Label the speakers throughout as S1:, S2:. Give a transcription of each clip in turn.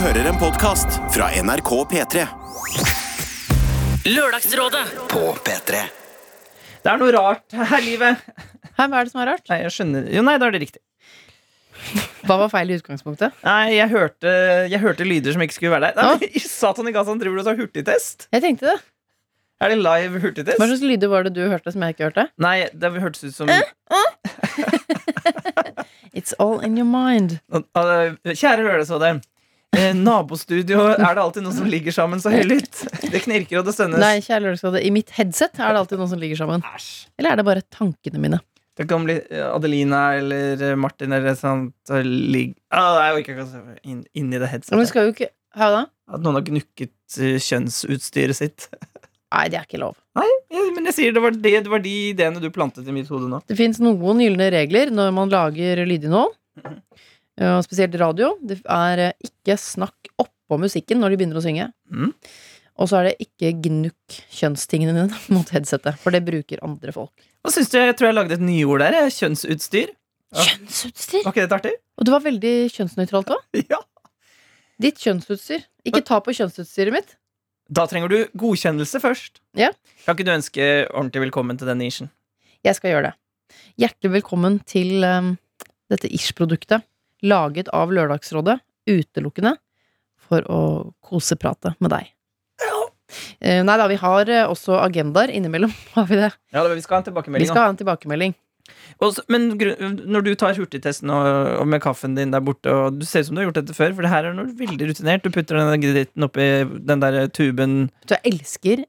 S1: hører en podkast fra NRK P3.
S2: Lørdagsrådet
S3: På P3
S4: Det er noe rart her i livet.
S5: Hæ, hva er det som er rart?
S4: Nei, jeg skjønner Jo, nei, da er det riktig.
S5: Hva var feil i utgangspunktet?
S4: Nei, jeg hørte, jeg hørte lyder som ikke skulle være der.
S5: Å.
S4: Nei, men Satan i Gazaen driver du og tar hurtigtest?
S5: Jeg tenkte det.
S4: Er det live
S5: Hva
S4: hurtigtest?
S5: slags lyder var det du hørte som jeg ikke hørte?
S4: Nei, det hørtes ut som
S5: It's all in your mind.
S4: Ah, Kjære Lørdagsrådet. Eh, nabostudio er det alltid noen som ligger sammen så høylytt. Det knirker og det stønnes.
S5: Nei, kjære lørdagsrådet, i mitt headset er det alltid noen som ligger sammen.
S4: Æsj.
S5: Eller er det bare tankene mine?
S4: Det kan bli eh, Adelina eller eh, Martin eller sånt. og lig- Ah, nei, jeg orker ikke å se på- inn, inn i det
S5: Men
S4: headsetet.
S5: skal jo ikke Hva da?
S4: At noen har gnukket eh, kjønnsutstyret sitt.
S5: Nei, det er ikke lov.
S4: Ja, men jeg sier det var, det, det var de ideene du plantet i mitt hode nå.
S5: Det fins noen gylne regler når man lager lydinnhold, eh, og spesielt radio. Det er eh, ikke snakk oppå musikken når de begynner å synge.
S4: Mm.
S5: Og så er det ikke gnukk kjønnstingene dine mot headsetet, for det bruker andre folk.
S4: Hva synes du? Jeg tror jeg lagde et nyord der. jeg. Kjønnsutstyr. Ja.
S5: Kjønnsutstyr!
S4: Var ikke dette artig?
S5: Og det var veldig kjønnsnøytralt òg.
S4: Ja.
S5: Ditt kjønnsutstyr. Ikke ta på kjønnsutstyret mitt.
S4: Da trenger du godkjennelse først.
S5: Ja.
S4: Kan ikke du ønske ordentlig velkommen til den nisjen?
S5: Jeg skal gjøre det. Hjertelig velkommen til um, dette ish-produktet, laget av Lørdagsrådet, utelukkende for å koseprate med deg. Eh, nei da, vi har eh, også agendaer innimellom, har vi det.
S4: Ja, det, vi skal ha en
S5: Vi
S4: tilbakemelding.
S5: skal ha en tilbakemelding.
S4: nå. Og så- men grunn- når du tar hurtigtesten og, og med kaffen din der borte og Du ser ut som du har gjort dette før, for det her er noe veldig rutinert. Du putter den dritten oppi den der tuben.
S5: Så jeg elsker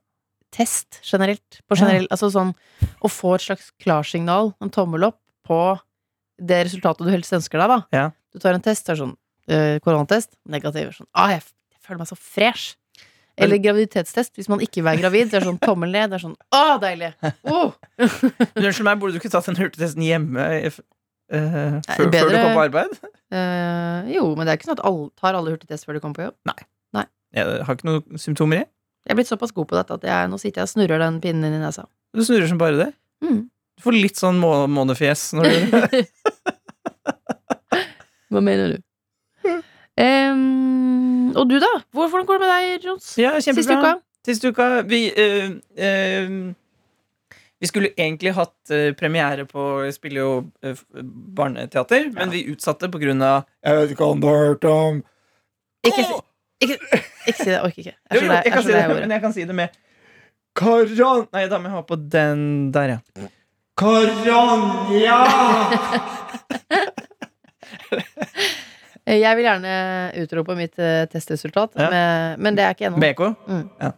S5: test generelt. På generell, Altså sånn å få et slags klarsignal, en tommel opp, på det resultatet du helst ønsker deg, da.
S4: Ja.
S5: Du tar en test, det er sånn eh, koronatest, negativ. Sånn, ah, jeg, f- jeg føler meg så fresh. Eller graviditetstest, hvis man ikke er gravid. Det er sånn tommel ned. Det er sånn å, deilig! Oh!
S4: Men Unnskyld meg, burde du ikke tatt den hurtigtesten hjemme eh, f- eh, før,
S5: bedre-
S4: før du kom på arbeid?
S5: Eh, jo, men det er ikke sånn at alle tar alle hurtigtest før de kommer på jobb.
S4: Jeg har ikke noen symptomer, jeg.
S5: Jeg er blitt såpass god på dette at jeg, nå sitter jeg og snurrer den pinnen inn i nesa.
S4: Du snurrer som bare det.
S5: Mm.
S4: Du får litt sånn må månefjes når du gjør det.
S5: Hva mener du? Em, og du, da? Hvor- Hvordan går det med deg, Jons?
S4: Ja,
S5: Siste
S4: kjempebra.
S5: uka?
S4: Siste uka Vi, eh, eh, vi skulle egentlig hatt eh, premiere på Vi spiller jo eh, f- barneteater, men vi utsatte på grunn av Jeg vet ikke om du har hørt om
S5: Ikke, si- ikke, ikke si det. Jeg orker ikke.
S4: Jo, jo,
S5: Jeg er så lei
S4: jeg
S5: jeg er
S4: kan
S5: så
S4: si det,
S5: lei av
S4: men
S5: ordet.
S4: jeg kan si det med Karan Nei, da må jeg ha på den der, ja. Karanja!
S5: Jeg vil gjerne utrope mitt eh, testresultat,
S4: Ja.
S5: med, men det er ikke ennå.
S4: Med ekko?
S5: Mm.
S4: Ja.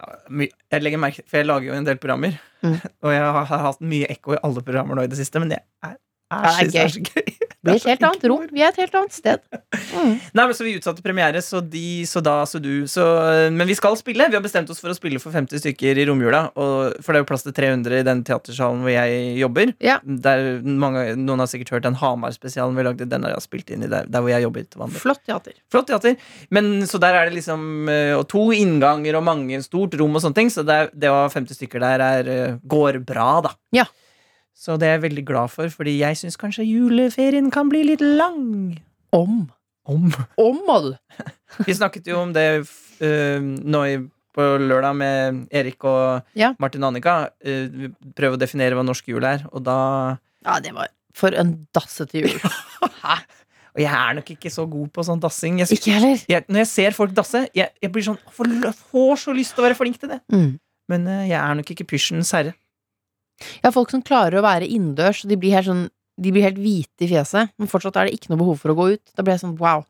S4: Ja, my- Jeg legger merke For jeg lager jo en del programmer,
S5: Mm.
S4: og jeg har, har hatt mye ekko i alle programmer nå i det siste, men det er, er,
S5: Ja, det er
S4: synes jeg er så gøy.
S5: Vi er et helt annet rom. Vi er et helt annet sted. Mm.
S4: Nei, men Så vi utsatte premiere, så de, så da, så du. Så, eh, men vi skal spille. Vi har bestemt oss for å spille for 50 stykker i romjula. Og, for det er jo plass til 300 i den teatersalen hvor jeg jobber.
S5: Ja.
S4: Der mange, noen har sikkert hørt den Hamar-spesialen vi lagde. Den har jeg spilt inn i der, der hvor jeg jobber. til vanlig.
S5: Flott teater.
S4: Flott teater. Men så der er det liksom eh, Og to innganger og mange stort rom og sånne ting. Så det, er- det å ha 50 stykker der er, eh, går bra, da.
S5: Ja.
S4: Så det er jeg veldig glad for, fordi jeg syns kanskje juleferien kan bli litt lang.
S5: Om.
S4: Om.
S5: Om, må du.
S4: Vi snakket jo om det eh, nå i, på lørdag med Erik og
S5: Ja.
S4: Martin og Annika. Eh, vi prøver å definere hva norsk jul er, og da
S5: Ja, det var for en dassete jul.
S4: Og jeg er nok ikke så god på sånn dassing. Jeg,
S5: Ikke heller.
S4: jeg, når jeg ser folk dasse, jeg, jeg blir sånn «Å, for lø- Får så lyst til å være flink til det.
S5: Mm.
S4: Men eh, jeg er nok ikke pysjens herre.
S5: Ja, folk som klarer å være innendørs, og de blir helt sånn de blir helt hvite i fjeset, men fortsatt er det ikke noe behov for å gå ut. Da blir jeg sånn wow.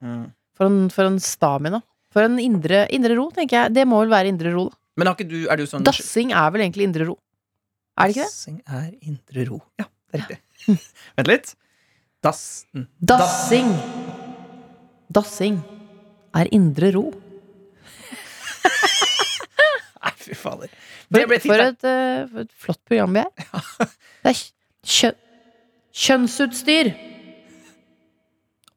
S5: For en, for en stamina. For en indre, indre ro, tenker jeg. Det må vel være indre ro, da.
S4: Men har ikke du, er du sånn
S5: Dassing er vel egentlig indre ro. Er det ikke det?
S4: Dassing er indre ro. Ja, det er riktig. Vent litt. Dassen.
S5: Dassing. Dassing er indre ro.
S4: Nei, fy fader.
S5: For,
S4: Det ble
S5: for,
S4: tittelen.
S5: et, eh, for et flott program vi er. Det er kjø kjønnsutstyr.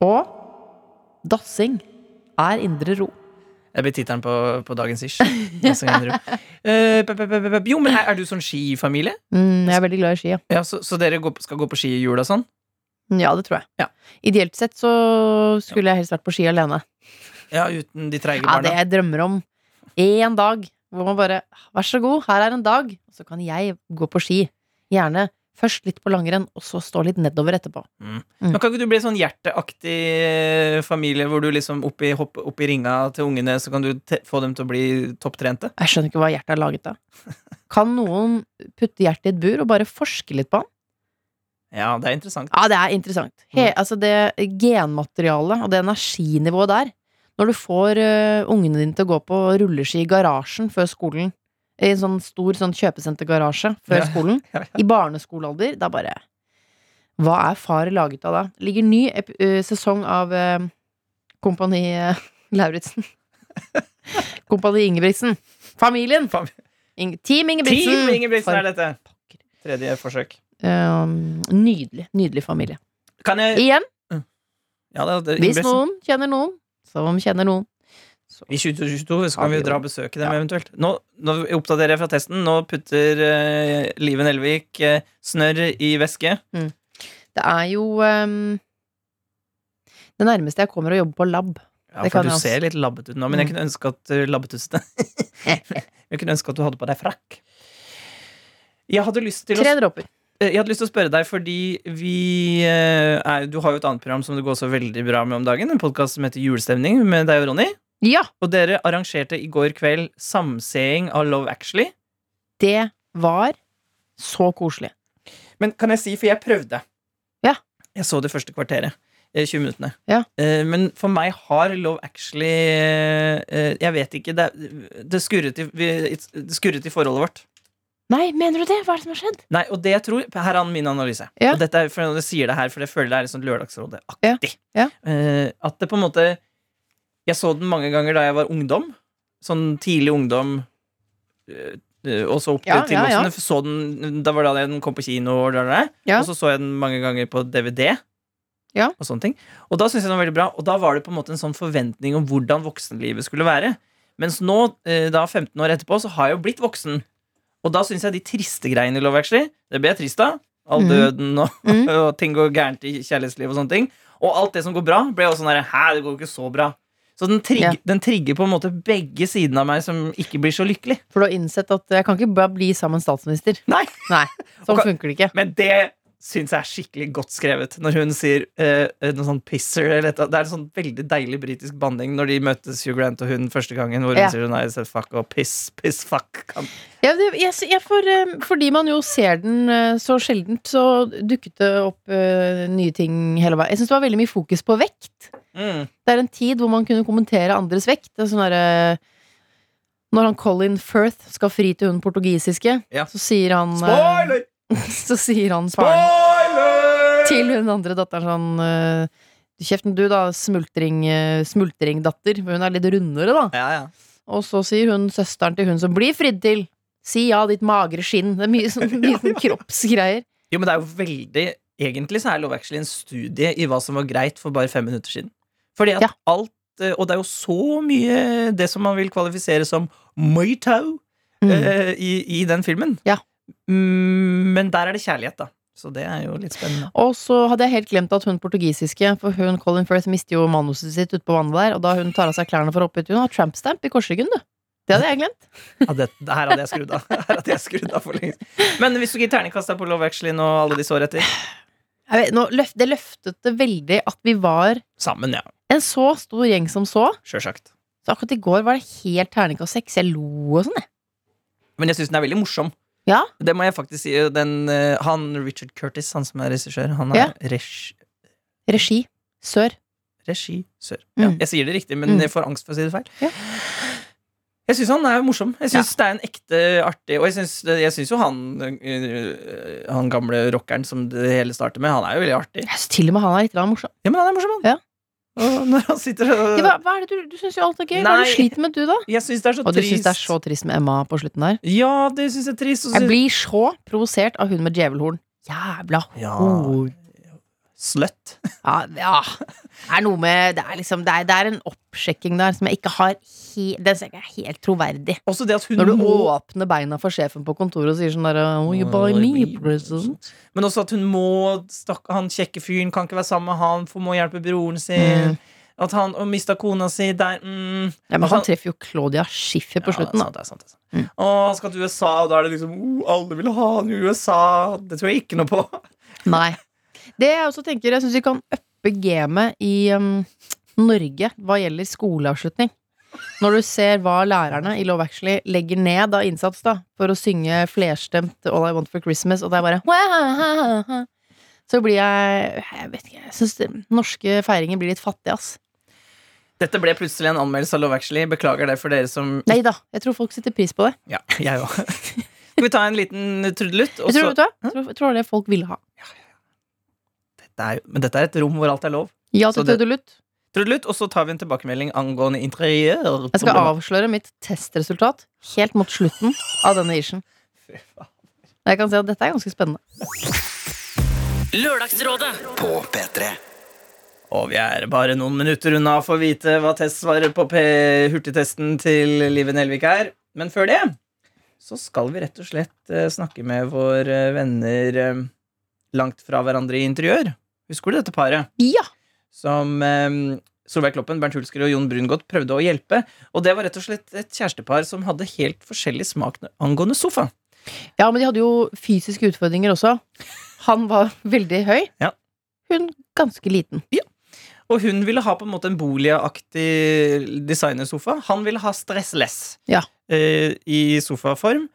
S5: Og dassing er indre ro.
S4: Det blir tittelen på, på dagens ish. Dassing er indre ro. Eh, pe- pe- pe- pe- pe- Jo, men er er du sånn skifamilie?
S5: Mm, jeg er veldig glad i ski, ja.
S4: Ja, så, så dere går, på- skal gå på ski i jula og sånn?
S5: Mm, Ja, det tror jeg.
S4: Ja.
S5: Ideelt sett så skulle jeg helst vært på ski alene.
S4: Ja, uten de treige
S5: Ja, det
S4: barna.
S5: jeg drømmer om. En dag hvor man bare Vær så god, her er en dag. Og så kan jeg gå på ski. Gjerne først litt på langrenn, og så stå litt nedover etterpå.
S4: Men kan ikke du bli sånn hjerteaktig eh, familie, hvor du liksom oppi, hopp, oppi ringa til ungene, så kan du te få dem til å bli topptrente?
S5: Jeg skjønner ikke hva hjertet er laget av. Kan noen putte hjertet i et bur og bare forske litt på han?
S4: Ja, det er interessant.
S5: Ja, det er interessant. He,
S4: Mm.
S5: altså det genmaterialet og det energinivået der, når du får eh, ungene dine til å gå på rulleski i garasjen før skolen, i en sånn stor sånn kjøpesentergarasje før
S4: Ja.
S5: skolen, i barneskolealder, da bare Hva er far laget av da? Ligger ny ep eh, sesong av eh, Kompani eh, Lauritzen. Kompani Ingebrigtsen. Familien!
S4: Fam-
S5: Ing Team Ingebrigtsen!
S4: Team Ingebrigtsen
S5: For-
S4: er dette! Tredje forsøk.
S5: Eh, nydelig. Nydelig familie.
S4: Kan jeg
S5: Igjen,
S4: ja, det, det,
S5: hvis
S4: Ingebrigtsen.
S5: noen kjenner noen som kjenner noen.
S4: I 2022 så
S5: Ja,
S4: kan vi
S5: vi
S4: jo dra
S5: gjør
S4: og besøke dem
S5: Ja.
S4: eventuelt. Nå, nå oppdaterer jeg fra testen. Nå putter eh, Liven Elvik eh, snørr i væske.
S5: Det er jo ehm, Det nærmeste jeg kommer å jobbe på lab.
S4: Ja,
S5: Det
S4: for
S5: kan
S4: du
S5: jeg også.
S4: ser litt labbet ut nå, men jeg kunne ønske at eh, labbetustene Jeg kunne ønske at du hadde på deg frakk. Jeg hadde lyst til å
S5: Tre dråper.
S4: Eh, Jeg hadde lyst til å spørre deg, fordi vi eh, er, Du har jo et annet program som det går så veldig bra med om dagen. En podkast som heter Julestemning med deg og Ronny.
S5: Ja!
S4: Og dere arrangerte i går kveld samseing av Love Actually.
S5: Det var så koselig.
S4: Men kan jeg si, for jeg prøvde.
S5: Ja.
S4: Jeg så det første kvarteret. eh, 20 minuttene.
S5: Ja.
S4: Eh, Men for meg har Love Actually eh, eh, Jeg vet ikke. Det, er- det, skurret, i, vi- det skurret i forholdet vårt.
S5: Nei, mener du det? Hva er det som har skjedd?
S4: Nei, og det jeg tror Her er min analyse.
S5: Ja.
S4: Og dette er, for jeg sier det her, for jeg føler det er litt sånn Lørdagsrådet-aktig.
S5: Ja,
S4: Eh, at det på en måte Jeg så den mange ganger da jeg var ungdom. Sånn tidlig ungdom. eh, eh, Og så opp
S5: Ja,
S4: til
S5: ja, ja.
S4: voksne. Så den, da var det da den kom på kino, og, da, da, da.
S5: Ja.
S4: og så så jeg den mange ganger på DVD.
S5: Ja.
S4: Og sånne ting Og da syntes jeg den var veldig bra. Og da var det på en måte en sånn forventning om hvordan voksenlivet skulle være. Mens nå, eh, da 15 år etterpå, så har jeg jo blitt voksen. Og da syns jeg de triste greiene i Love Actually Det ble jeg trist av. All
S5: Mhm.
S4: døden og,
S5: Mhm.
S4: og ting går gærent i kjærlighetsliv og sånne ting. Og alt det som går bra, ble også sånn der Hæ, det går jo ikke så bra. Så den, trigg,
S5: Ja.
S4: den trigger på en måte begge sidene av meg som ikke blir så lykkelig.
S5: For du har innsett at jeg kan ikke bare bli sammen statsminister.
S4: Nei.
S5: Nei, Sånn
S4: Ok.
S5: funker det ikke.
S4: Men det syns jeg er skikkelig godt skrevet når hun sier eh, noe sånn pisser eller et eller annet. Det er en sånn veldig deilig britisk banning når de møtes, Hugh Grant og hun, første gangen, hvor hun
S5: Ja.
S4: sier nei, I said fuck og piss, piss, fuck. Kan-
S5: Ja, det, jeg, jeg får, eh, fordi man jo ser den eh, så sjeldent, så dukket det opp eh, nye ting hele veien. Jeg syns det var veldig mye fokus på vekt.
S4: Mm.
S5: Det er en tid hvor man kunne kommentere andres vekt. Det er sånn derre Når han Colin Firth skal fri til hun portugisiske,
S4: Ja.
S5: så sier han eh,
S4: Spoiler!
S5: Så sier han faren
S4: Spoiler!
S5: til hun andre datteren sånn eh, «Du Kjeften du, da. Smultring, eh, smultringdatter. For hun er litt rundere, da.
S4: Ja, ja.
S5: Og så sier hun søsteren til hun som blir fridd til. Si ja, ditt magre skinn. Det er mye sånn, mye sånn kroppsgreier.
S4: Jo, men det er jo veldig Egentlig så er Love Actually en studie i hva som var greit for bare fem minutter siden. Fordi at
S5: Ja.
S4: alt eh, Og det er jo så mye det som man vil kvalifisere som Muay Thai
S5: Mm.
S4: eh, i, i den filmen.
S5: Ja.
S4: Mm, men der er det kjærlighet, da. Så det er jo litt spennende.
S5: Og så hadde jeg helt glemt at hun portugisiske, for hun Colin Firth mister jo manuset sitt ute på vannet der, og da hun tar av seg klærne for å hoppe ut, hun har trampstamp i korsryggen, du. Det hadde jeg glemt.
S4: Ja, det, det her hadde jeg skrudd av. Her hadde jeg skrudd av for lengst. Men hvis du gir terningkast deg på Love Actually nå alle disse år etter
S5: Jeg vet, nå løft, det løftet det veldig at vi var
S4: Sammen, ja.
S5: en så stor gjeng som så.
S4: Sjølsagt.
S5: Så akkurat i går var det helt terningkast seks. Jeg lo og sånn, jeg.
S4: Men jeg syns den er veldig morsom.
S5: Ja.
S4: Det må jeg faktisk si. Den, eh, han Richard Curtis, han som er regissør, han er
S5: Ja.
S4: regi,
S5: Regi. Sør.
S4: regissør.
S5: Mm.
S4: Ja, jeg sier det riktig, men
S5: Mm.
S4: jeg får angst for å si det feil.
S5: Ja.
S4: Jeg syns han er morsom. Jeg synes Det er en ekte artig Og jeg syns, jeg synes jo han øh, Han gamle rockeren som det hele starter med, han er jo veldig artig.
S5: Jeg synes til og med han er litt grann morsom.
S4: Ja, men han er morsom, han.
S5: Ja.
S4: Og når han sitter og
S5: Ja, hva, hva er det du, du syns jo alt er gøy. Hva er det
S4: Nei.
S5: du sliter med, du, da?
S4: Jeg syns det er så
S5: Og du syns
S4: trist.
S5: det er så trist med Emma på slutten der?
S4: Ja, det syns jeg er trist. og så
S5: Jeg
S4: synes-
S5: blir så provosert av hun med djevelhorn. Jævla
S4: Ja.
S5: hor...
S4: Slutt.
S5: Ja, ja. Det er noe med Det er liksom Det er, det er en oppsjekking der som jeg ikke har he, Den ser ikke helt troverdig.
S4: Også det at hun
S5: Når du
S4: må
S5: åpner beina for sjefen på kontoret og sier sånn derre Oh, you buy me a present.
S4: Men også at hun må stakk, Han kjekke fyren kan ikke være sammen med han, for må hjelpe broren sin.
S5: Mm.
S4: At han og mista kona si der mm.
S5: Ja, men
S4: Altså-
S5: han treffer jo Claudia Schiffer på slutten,
S4: ja, altså,
S5: da.
S4: det er sant, det er sant, det er
S5: Mm.
S4: sant. Og han skal til USA, og da er det liksom oh, Alle vil ha han i USA. Det tror jeg ikke noe på.
S5: Nei. Det jeg også tenker, jeg syns vi kan uppe gamet i um, Norge hva gjelder skoleavslutning. Når du ser hva lærerne i Love Actually legger ned av innsats da, for å synge flerstemt All I Want for Christmas, og det er bare «Wah-ha-ha-ha», Så blir jeg Jeg vet ikke, jeg syns norske feiringer blir litt fattige, ass.
S4: Dette ble plutselig en anmeldelse av Love Actually. Beklager det for dere som
S5: Nei da, jeg tror folk setter pris på det.
S4: Ja, jeg òg. Skal vi ta en liten trudelutt? og
S5: Jeg
S4: så-
S5: tror, vet du, hva? jeg tror, jeg tror det folk ville ha.
S4: Dette er jo- Men dette er et rom hvor alt er lov.
S5: Ja
S4: Så
S5: til
S4: det-
S5: Tødelutt.
S4: Trudelutt, og så tar vi en tilbakemelding angående interiør.
S5: Jeg skal avsløre mitt testresultat helt mot slutten av denne isjen. Jeg kan si at dette er ganske spennende.
S2: Lørdagsrådet
S1: På P3.
S4: Og vi er bare noen minutter unna for å vite hva testsvaret på P-hurtigtesten til Live Nelvik er. Men før det så skal vi rett og slett eh, snakke med våre venner eh, langt fra hverandre i interiør. Husker du dette paret?
S5: Ja!
S4: Som eh, Solveig Kloppen, Bernt Hulsker og Jon Brungot prøvde å hjelpe. Og det var rett og slett et kjærestepar som hadde helt forskjellig smak angående sofa.
S5: ja, men de hadde jo fysiske utfordringer også. Han var veldig høy.
S4: Ja.
S5: Hun ganske liten.
S4: Og hun ville ha på en måte en boligaktig designersofa. Han ville ha stressless
S5: Ja.
S4: eh, i sofaform.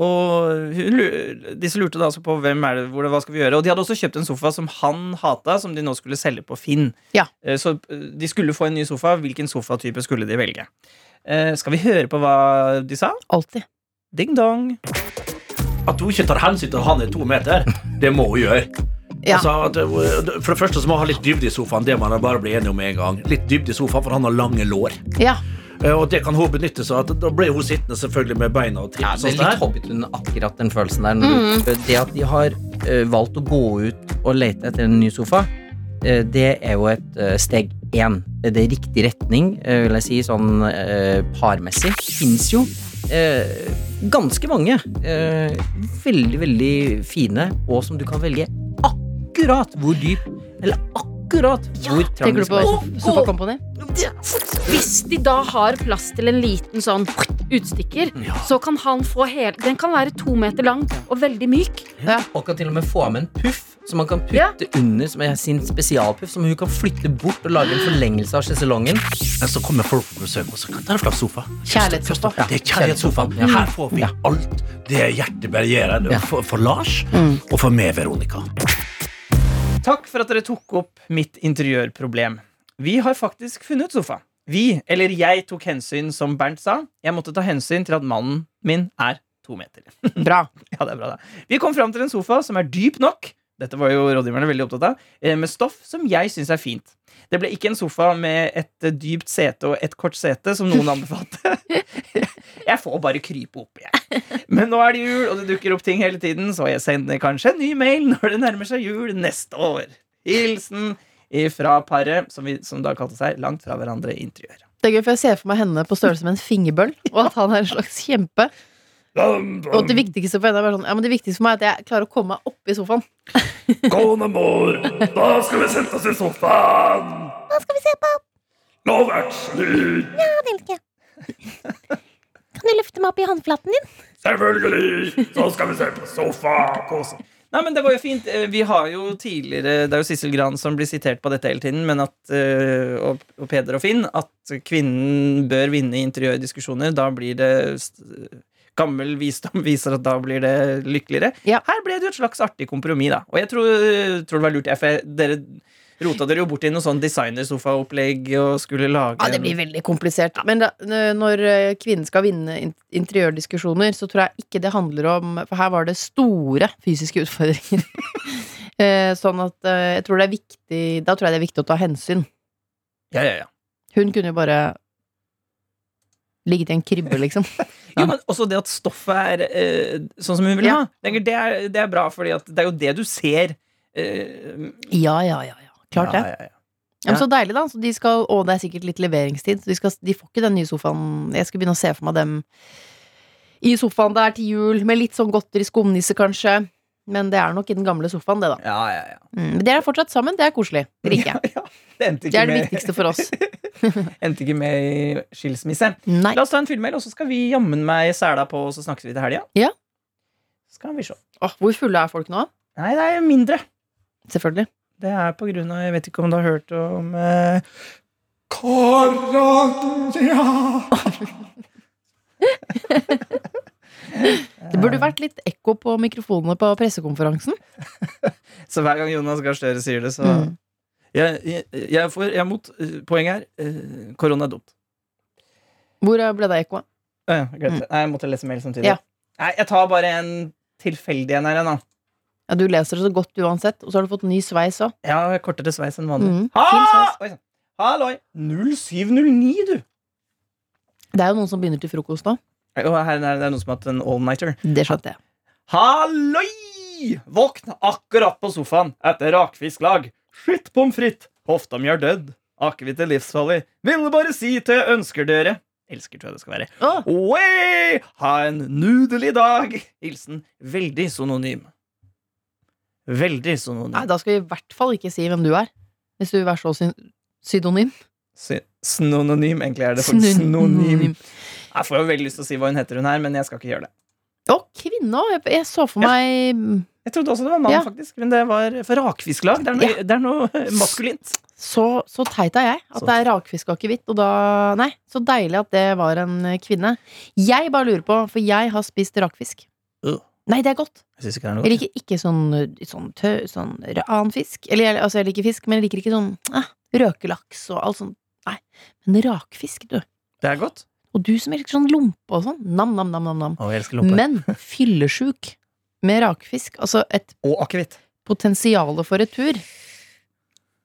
S4: Og hun, lu- disse lurte da altså på hvem er det, hvor det, hva skal vi gjøre. Og de hadde også kjøpt en sofa som han hata, som de nå skulle selge på Finn.
S5: Ja.
S4: Eh, Så eh, de skulle få en ny sofa. Hvilken sofatype skulle de velge? Eh, Skal vi høre på hva de sa?
S5: Alltid.
S4: Ding dong.
S3: At hun ikke tar hensyn til at han er to meter, det må hun gjøre.
S5: Ja.
S3: Altså, at- for det første så må hun ha litt dybde i sofaen. Det må han bare bli enig om med en gang. Litt dybde i sofaen, for han har lange lår.
S5: Ja.
S3: Eh, Og det kan hun benytte seg av. Da ble hun sittende selvfølgelig med beina og
S2: Ja,
S3: tippe.
S2: Sånn det er litt Hobbiten, akkurat den følelsen der.
S5: Mm.
S2: når du- Det at de har eh, valgt å gå ut og lete etter en ny sofa, eh, det er jo et eh, steg én. Det er riktig retning, eh, vil jeg si, sånn eh, parmessig. Det fins jo eh, ganske mange eh, veldig, veldig fine, og som du kan velge akkurat hvor dyp, eller akkurat hvor trang
S5: Tenker
S2: den
S5: du på
S2: skal være.
S5: Sofa Company?
S6: Hvis de da har plass til en liten sånn utstikker, så kan han få hele Den kan være to meter lang og veldig myk.
S2: Og kan til og med få med en puff som man kan putte
S6: Ja.
S2: under som er sin spesialpuff. Som hun kan flytte bort og lage en forlengelse av sjeselongen.
S3: Men så kommer folk på besøk og så kan ta en slags sofa.
S5: Kjærlighetssofa.
S3: Det er kjærlighetssofaen.
S2: Ja.
S3: Her får vi
S2: Ja.
S3: alt det hjertet bergjerer
S2: Ja.
S3: for, for Lars
S5: Mm.
S3: og for meg, Veronica.
S4: Takk for at dere tok opp mitt interiørproblem. Vi har faktisk funnet sofa. Vi, eller jeg, tok hensyn, som Bernt sa. Jeg måtte ta hensyn til at mannen min er to meter.
S5: Bra.
S4: Ja, det er bra, det. Vi kom fram til en sofa som er dyp nok. Dette var jo rådgiverne veldig opptatt av. eh, Med stoff som jeg syns er fint. Det ble ikke en sofa med et eh, dypt sete og et kort sete, som noen anbefalte. Jeg får bare krype opp, jeg. Men nå er det jul, og det dukker opp ting hele tiden, så jeg sender kanskje en ny mail når det nærmer seg jul neste år. Hilsen fra paret som, vi, som da kalte seg Langt fra hverandre i interiør.
S5: Det er gøy, for jeg ser for meg henne på størrelse med en fingerbøl, og at han er en slags kjempe. Og det viktigste for henne er bare sånn Ja, men det viktigste for meg er at jeg klarer å komme meg opp i sofaen.
S3: Kone mor, da skal vi sette oss i sofaen. Hva skal vi se på? Love Actually. Ja, Nelke. Kan du løfte meg opp i håndflaten din? Selvfølgelig. Så skal vi se på sofa. Kose.
S4: Nei, men det var jo fint. Eh, Vi har jo tidligere Det er jo Sissel Gran som blir sitert på dette hele tiden, men at, eh, og, og Peder og Finn, at kvinnen bør vinne i interiørdiskusjoner. Da blir det st- Gammel visdom viser at da blir det lykkeligere.
S5: Ja.
S4: Her ble det jo et slags artig kompromiss, da. Og jeg tror, tror det var lurt, jeg, for jeg- dere rota dere jo bort i noe sånn designersofaopplegg og skulle lage
S5: Ja, det blir veldig komplisert. Men da, n- når eh, kvinnen skal vinne in- interiørdiskusjoner, så tror jeg ikke det handler om For her var det store fysiske utfordringer. Eh, sånn at eh, jeg tror det er viktig Da tror jeg det er viktig å ta hensyn.
S4: ja, ja, ja.
S5: Hun kunne jo bare ligget i en krybbe, liksom.
S4: Jo, men også det at stoffet er eh, sånn som hun vil
S5: Ja.
S4: ha. tenker, Det er, det er bra, for det er jo det du ser. eh,
S5: Ja, ja, ja. ja. Klart det.
S4: Ja, ja, ja.
S5: Ja, men så deilig, da. Så de skal, og det er sikkert litt leveringstid, så de, skal, de får ikke den nye sofaen. Jeg skal begynne å se for meg dem i sofaen der til jul, med litt sånn godteri, skumnisse kanskje. Men det er nok i den gamle sofaen, det, da.
S4: Ja, ja, ja.
S5: Mm, men dere er fortsatt sammen. Det er koselig. Det liker jeg.
S4: ja. Det endte
S5: Det
S4: ikke,
S5: er det
S4: med,
S5: viktigste for oss.
S4: endte ikke med i skilsmisse.
S5: Nei.
S4: La oss ta en filmmail, og så skal vi jammen meg sæla på, og så snakkes vi til helga.
S5: Ja.
S4: Skal vi se.
S5: Åh, hvor fulle er folk nå?
S4: Nei, det er mindre.
S5: Selvfølgelig.
S4: Det er på grunn av Jeg vet ikke om du har hørt om eh, Karania!
S5: Det burde vært litt ekko på mikrofonene på pressekonferansen.
S4: Så hver gang Jonas Gahr Støre sier det, så
S5: Mm.
S4: jeg, jeg, jeg, får, jeg er mot eh, Poenget her. eh, korona er dumt.
S5: Hvor ble det av ekkoet?
S4: Å ja, jeg glemte det. Nei, jeg måtte lese mail samtidig.
S5: Mm. Ja.
S4: Nei, jeg tar bare en tilfeldig en her, jeg, da.
S5: Ja, du leser det så godt uansett, og så har du fått ny sveis òg.
S4: Jeg har kortere sveis enn vanlig.
S5: Mm, fin
S4: Ha!
S5: sveis.
S4: Oi, sann. Halloi! 0709, du!
S5: Det er jo noen som begynner til frokost nå.
S4: Og her, her, det er noen som har hatt en all-nighter.
S5: Det skjønte jeg.
S4: Halloi! Våkna akkurat på sofaen etter rakfisklag. Shit pommes frites. Hofta mi er dødd. Akevitt er livsfarlig. Ville bare si til jeg ønsker dere Elsker, tror jeg det skal være.
S5: Åh,
S4: Oi! Ha en nudelig dag! Hilsen veldig sononym. Veldig
S5: nei,
S4: sononym.
S5: da skal vi i hvert fall ikke si hvem du er. Hvis du vil være så syn sydonym.
S4: Sy- Snononym, egentlig er det faktisk. Snonym.
S5: Synonym.
S4: Jeg får jo veldig lyst til å si hva hun heter, hun her, men jeg skal ikke gjøre det.
S5: Å, kvinne òg! Jeg, jeg så for
S4: Ja.
S5: meg mm,
S4: Jeg trodde også det var mann,
S5: Ja.
S4: faktisk, men det var for rakfisklag. Det er noe, det er noe maskulint.
S5: Så, så teit er jeg. At
S4: Så-
S5: det er rakfisk og akevitt. Og da Nei, så deilig at det var en eh, kvinne. Jeg bare lurer på, for jeg har spist rakfisk.
S4: Øh.
S5: Nei, det er godt.
S4: Jeg synes ikke det er
S5: Jeg
S4: noe.
S5: liker ikke sånn, eh, sånn, tø, sånn r- annen fisk. Eller jeg- altså, jeg liker fisk, men jeg liker ikke sånn eh, røkelaks og alt sånt. Nei. Men rakfisk, du.
S4: Det er godt.
S5: Og du som elsker sånn lompe og sånn. Nam, nam, nam, nam, nam.
S4: Å, jeg elsker
S5: Men fyllesjuk med rakfisk. Altså et
S4: Og akevitt.
S5: potensial for retur.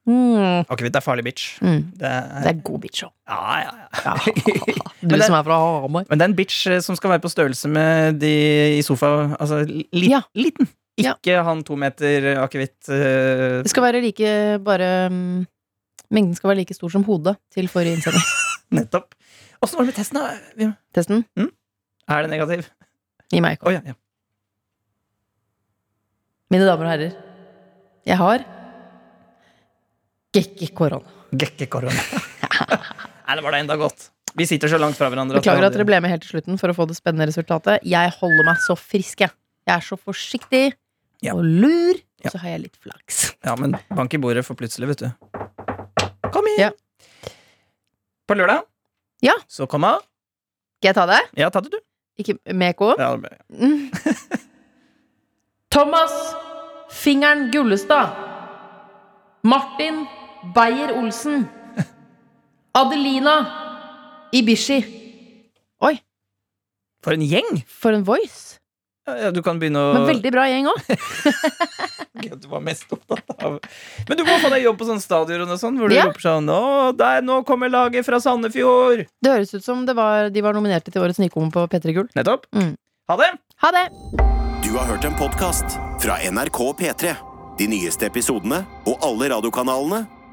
S5: Mm.
S4: Akevitt er farlig, bitch.
S5: Mm.
S4: Det
S5: Det
S4: er,
S5: er god bitch òg.
S4: ja, ja, ja.
S5: Du
S4: Men det-
S5: som er fra Hamar.
S4: Men det er en bitch eh, som skal være på størrelse med de i sofa. Altså li,
S5: Ja.
S4: liten.
S5: Ja.
S4: Ikke han to meter eh, akevitt eh,
S5: Det skal være like bare mm, Mengden skal være like stor som hodet til forrige innsending.
S4: Nettopp. Åssen var det med testen, da? Wim?
S5: Testen?
S4: Er det negativ?
S5: Gi meg ikke.
S4: Å ja, ja.
S5: Mine damer og herrer, jeg har Gekki korona.
S4: Gekkekorona. Nei, det var da enda godt. Vi sitter så langt fra hverandre.
S5: Beklager at dere ble med helt til slutten for å få det spennende resultatet. Jeg holder meg så frisk, jeg. Jeg er så forsiktig
S4: Ja.
S5: og lur.
S4: Ja.
S5: Så har jeg litt flaks.
S4: Ja, men bank i bordet for plutselig, vet du. Kom inn!
S5: Ja.
S4: På lørdag
S5: Ja.
S4: så kom jeg.
S5: Skal jeg ta det?
S4: Ja, ta det, du.
S5: Ikke med K?
S4: Ja, det ble-
S5: Mm. Thomas Fingeren Gullestad. Martin Beyer-Olsen. Adelina Ibishi. Oi,
S4: For en gjeng!
S5: for en voice!
S4: Ja, ja, Du kan begynne å
S5: Men veldig bra gjeng òg.
S4: Gud, Du var mest opptatt av Men du må få deg jobb på sånne stadioner og sånn, hvor du
S5: Ja.
S4: roper sånn Å, der, nå kommer laget fra Sandefjord!
S5: Det høres ut som det var, de var nominerte til årets nykommer på P3 Gull.
S4: Nettopp.
S5: Mm.
S4: Ha det!
S5: Ha det!
S1: Du har hørt en podcast fra NRK P3. De nyeste episodene og alle radiokanalene